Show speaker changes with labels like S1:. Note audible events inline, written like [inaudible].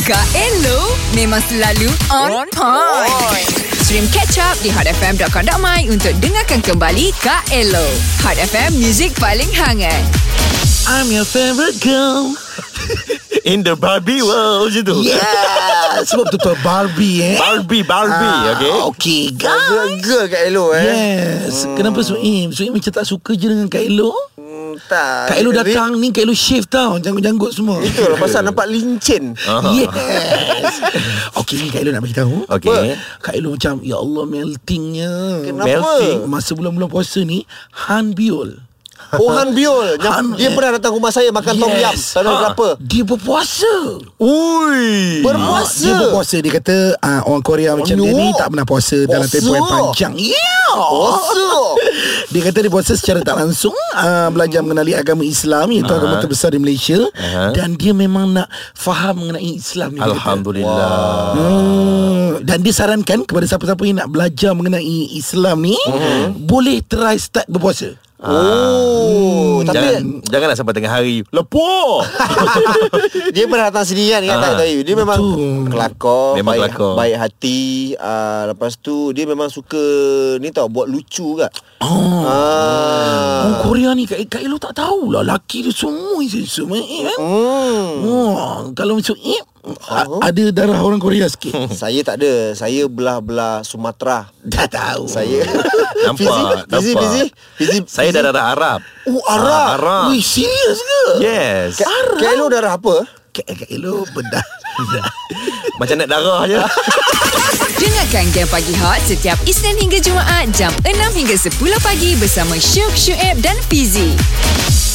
S1: Kak Elo memang selalu on point. Stream catch up di hotfm.com.my untuk dengarkan kembali Kak Elo. Hot FM, music paling [laughs] hangat.
S2: I'm your favorite girl In the Barbie world Macam tu
S3: Yeah Sebab tu tu Barbie eh
S2: Barbie Barbie
S3: Ah, Okay
S2: Okay
S4: Girl,
S3: guys
S4: girl kat Elo eh
S3: Yes Ah. hmm. Kenapa Suim Suim macam tak suka je dengan Kak Elo
S4: Hmm,
S3: Kak
S4: Tak
S3: Elo
S4: Tapi-
S3: datang ni Kak Elo shave tau Janggut-janggut semua
S4: Itulah pasal nampak lincin
S3: [laughs] Ah. Yes Okay ni Kak Elo nak beritahu
S2: Okay.
S3: Kak Elo macam Ya Allah meltingnya
S4: Kenapa?
S2: Melting.
S3: Masa bulan-bulan puasa ni Han Biol
S4: Oh Han
S3: [laughs]
S4: Biol Yang-
S3: Han-
S4: Dia pernah datang rumah saya Makan tom yam Tak tahu
S2: Ha.
S4: kenapa
S3: Dia berpuasa
S2: Ui
S3: Ah,
S4: Berpuasa
S3: Dia berpuasa Dia kata uh, Orang Korea macam
S4: no.
S3: dia ni Tak pernah puasa Dalam
S4: Puasa.
S3: tempoh yang panjang Oh, Yeah
S4: Puasa
S3: Dia kata dia puasa secara tak langsung uh, Belajar mengenali agama Islam Iaitu agama terbesar di Malaysia
S2: Hmm. Aha.
S3: Dan dia memang nak Faham mengenai Islam ni dia kata.
S2: Alhamdulillah
S3: Hmm, dan dia sarankan kepada siapa-siapa yang nak belajar mengenai Islam ni
S2: Hmm.
S3: boleh try start berpuasa. Hmm.
S4: Oh
S2: Jangan,
S4: Tapi
S2: janganlah sampai tengah hari Lepuh
S4: Dia pernah datang sendiri kan Ingat tak tahu Dia memang
S3: Ah. Betul.
S4: Kelakor
S2: Memang
S4: baik,
S2: kelakor.
S4: baik hati ah, Lepas tu Dia memang suka Ni tau Buat lucu kat
S3: Oh. Orang
S4: ah.
S3: Korea ni Kak, Kak Elo tak tahulah Laki dia semua Semua eh, kan?
S4: Hmm
S3: Oh, kalau macam eh, a- ada darah orang Korea sikit.
S4: Hmm.
S2: [laughs]
S4: Saya tak ada Saya belah-belah Sumatera
S3: Dah tahu.
S4: Saya
S2: Nampak,
S4: Fizi
S2: nampak.
S4: Fizi Fizi
S2: [laughs] Saya dah darah Arab
S4: Oh Arab
S2: Ah, Arab
S3: Wih, serius ke?
S2: Yes
S4: Kak Kak Elo darah apa?
S3: Kak Kak Elo bedah.
S2: [laughs] Macam nak darah je [laughs]
S1: Dengarkan Game Pagi Hot setiap Isnin hingga Jumaat jam 6 hingga 10 pagi bersama Syuk, Syuib dan Fizi.